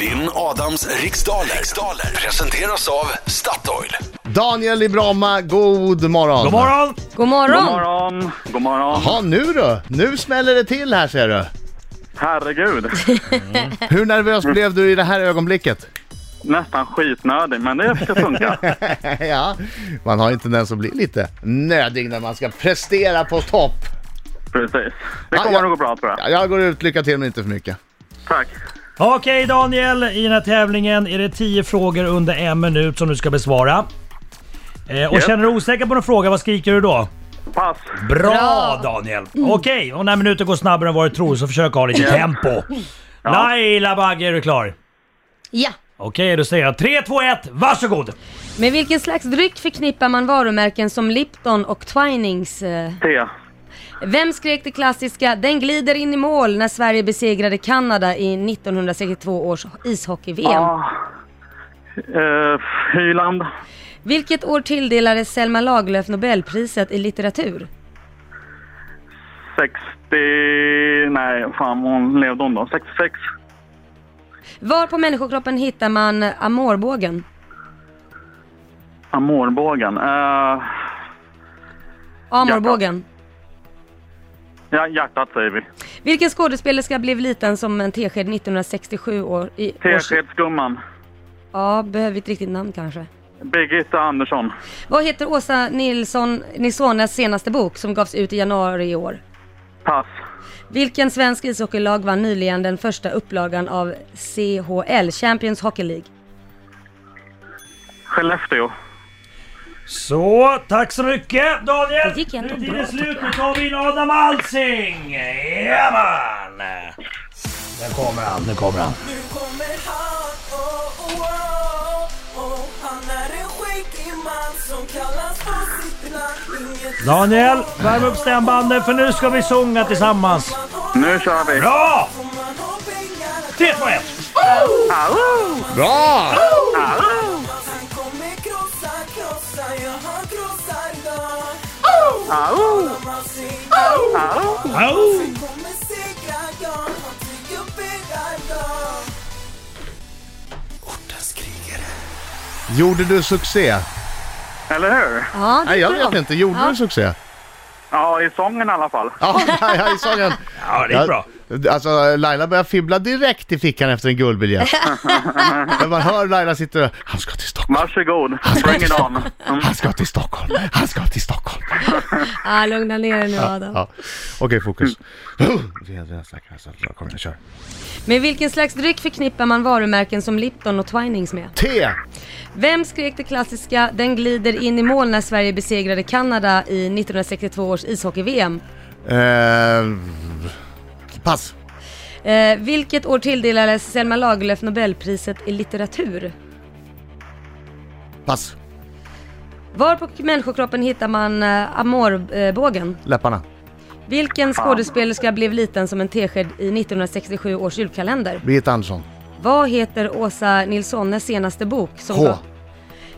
Vinn Adams riksdaler. riksdaler presenteras av Statoil. Daniel i Bromma, god morgon! God morgon! God morgon! God morgon, god morgon. Ja, nu då? Nu smäller det till här ser du. Herregud. Hur nervös Mm. blev du i det här ögonblicket? Nästan skitnödig, men det ska funka. ja, man har ju en tendens att bli lite nödig när man ska prestera på topp. Precis. Det Ja, kommer ja. nog gå bra tror Ja, jag. Jag går ut, lycka till men inte för mycket. Tack. Okej Daniel, i den här tävlingen är det 10 frågor under en minut som du ska besvara. Eh, och Japp. känner du osäker på någon fråga, vad skriker du då? Pass. Bra, Bra. Daniel! Okej, och när minuten går snabbare än vad du tror så försök ha lite tempo. Laila Bagge, är du klar? Ja. Okej, då säger jag 3, 2, 1, varsågod! Med vilken slags dryck förknippar man varumärken som Lipton och Twinings? eh? T. Vem skrek det klassiska “Den glider in i mål” när Sverige besegrade Kanada i 1962 års ishockey-VM? Ah. Eh, Hyland. Vilket år tilldelades Selma Lagerlöf Nobelpriset i litteratur? 60... Nej, fan hon levde hon då? 66. Var på människokroppen hittar man amorbågen? Amorbågen. Eh, Amorbågen. ja, hjärtat säger vi. Vilken skådespelerska blev liten som en tesked 1967 år i års... Teskedsgumman. Ja, behöver ett riktigt namn kanske. Birgitta Andersson. Vad heter Åsa Nilsson Nilssonas senaste bok som gavs ut i januari i år? Pass. Vilken svensk ishockeylag vann nyligen den första upplagan av CHL, Champions Hockey League? Skellefteå. Så, tack så mycket Daniel! Det gick ändå nu är bra, tiden slut, nu tar vi in Adam Alsing! Jajamän! Nu kommer han, nu kommer han. Nu kommer han, oh, oh, oh, oh. Han är en skäggig man som kallas på sitt land Inget Daniel, värm upp stämbanden för nu ska vi sjunga tillsammans. man har Nu kör vi. Bra! om man har pengar 3, 2, 1! Bra! Han kommer krossa, krossa, ja han krossar dem Au! Man ser, Au! Au! kommer segra, ja han tycker bärar dem Gjorde du succé? Eller hur? Ja, det Nej, jag är bra. vet inte. Gjorde Ja. du succé? Ja, i sången i alla fall. Ja, ja, i sången. Ja, det gick bra. Ja, Alltså, Laila börjar fibbla direkt i fickan efter en guldbiljett. Men man hör Laila sitter och, han ska till Stockholm, Varsågod. Bring it on. Mm. han ska till Stockholm, han ska till Stockholm. Ah, lugna ner dig nu Adam. Ja. Mm. Okej, fokus. Kom igen, kör. Med vilken slags dryck förknippar man varumärken som Lipton och Twinings med? T. Vem skrek det klassiska “Den glider in i mål” när Sverige besegrade Kanada i 1962 års ishockey-VM? Eh, pass. Eh, vilket år tilldelades Selma Lagerlöf Nobelpriset i litteratur? Pass. Var på människokroppen hittar man eh, amorbågen? Läpparna. Vilken skådespelerska blev liten som en tesked i 1967 års julkalender? Birgitta Andersson. Vad heter Åsa Nilssones senaste bok? Som H. gav-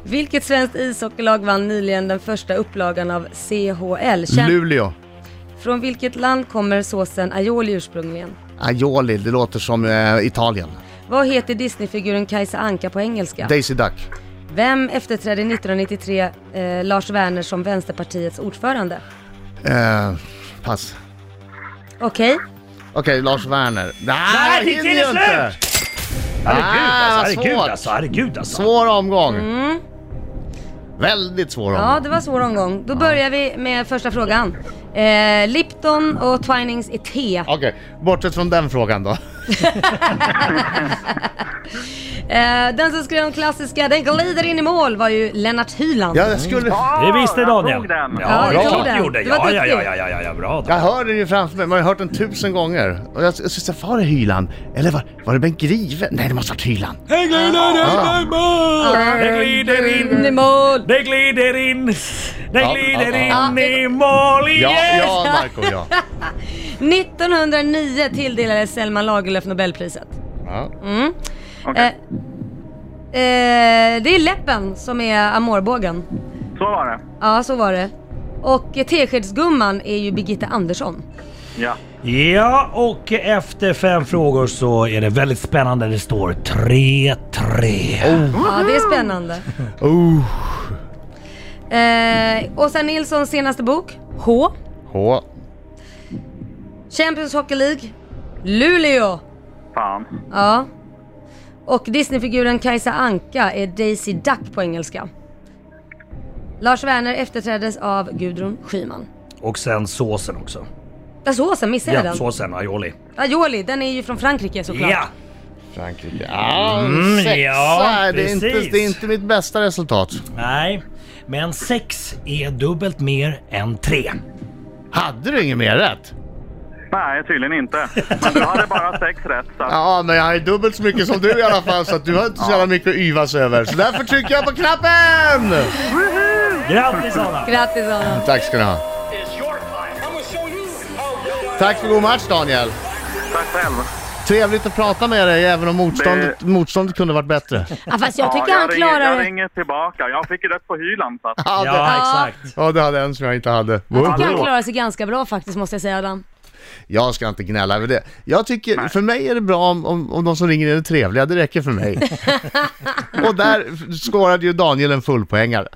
Vilket svenskt ishockeylag vann nyligen den första upplagan av CHL? Känd- Luleå. Från vilket land kommer såsen aioli ursprungligen? Aioli, det låter som eh, Italien. Vad heter Disneyfiguren Kajsa Anka på engelska? Daisy Duck. Vem efterträdde 1993 eh, Lars Werner som Vänsterpartiets ordförande? Eh, pass. Okej, Okej, Lars Werner. Nej, Nej, det är hinner ju slut! inte! Herregud Ah, alltså, herregud svårt. alltså, herregud alltså. Svår omgång. Väldigt svår omgång. ja det var svår omgång. Då börjar vi med första frågan. Eh, Lipton och Twinings är te. Okej, bortsett från den frågan då. Eh, den som skrev de klassiska “Den glider in i mål” var ju Lennart Hyland. Jag, skulle... Det visste Ah, jag Daniel. tog den. Ja, det Ja, är du klart tog du den. gjorde. Du var Ja, ja, ja, duktig. ja, ja, ja, ja, bra. jag Daniel. hör den ju framför mig, man har ju hört den tusen gånger. Och jag jag syns, var det Hyland? Eller var, var det Bengt Grive? Nej, det måste ha varit Hyland. Det glider in. i mål! Det glider in. Det Ja, glider ja, in i mål Ja, igen. ja, Marco, ja. 1909 tilldelades Selma Lagerlöf Nobelpriset. ja. Mm. Okej. Eh, eh, det är läppen som är amorbågen. Så var det. Ja, så var det. Och eh, teskedsgumman är ju Birgitta Andersson. Ja. Ja, och efter fem frågor så är det väldigt spännande. Det står 3-3. Ja, det är spännande. Oh. Eh, Åsa Nilssons senaste bok, H. H. Champions Hockey League, Luleå. Fan. Ja. Och Disneyfiguren Kajsa Anka är Daisy Duck på engelska. Lars Werner efterträddes av Gudrun Schyman. Och sen såsen också. Ja, såsen, missade jag Ja, den? såsen aioli. Aioli, den är ju från Frankrike såklart. Ja! Frankrike. Ja, Mm, sexa. ja, det, är inte, precis. det är inte mitt bästa resultat. Nej, men sex är dubbelt mer än tre. Hade du inget mer rätt? Nej, tydligen inte. Men du hade bara sex rätt. Så. att- Ja, men jag har ju dubbelt så mycket som du i alla fall så att du har inte så jävla mycket att yvas över. Så därför trycker jag på knappen! Grattis Anna! Grattis Adam. Tack ska ni ha. Tack för god match Daniel. Tack själv. Trevligt att prata med dig även om motståndet, Det- motståndet kunde varit bättre. Ja, fast jag tycker ja, han jag ringer, klarar Jag det. ringer tillbaka. Jag fick ju rätt på hyllan. Så. att- Ja, det, Ja, exakt. ja, det hade en som jag inte hade. Jag tycker han klarar sig ganska bra faktiskt måste jag säga Adam. Jag ska inte gnälla över det. Jag tycker, för mig är det bra om, om, om de som ringer är trevliga, det räcker för mig. Och där skårade ju Daniel en fullpoängare.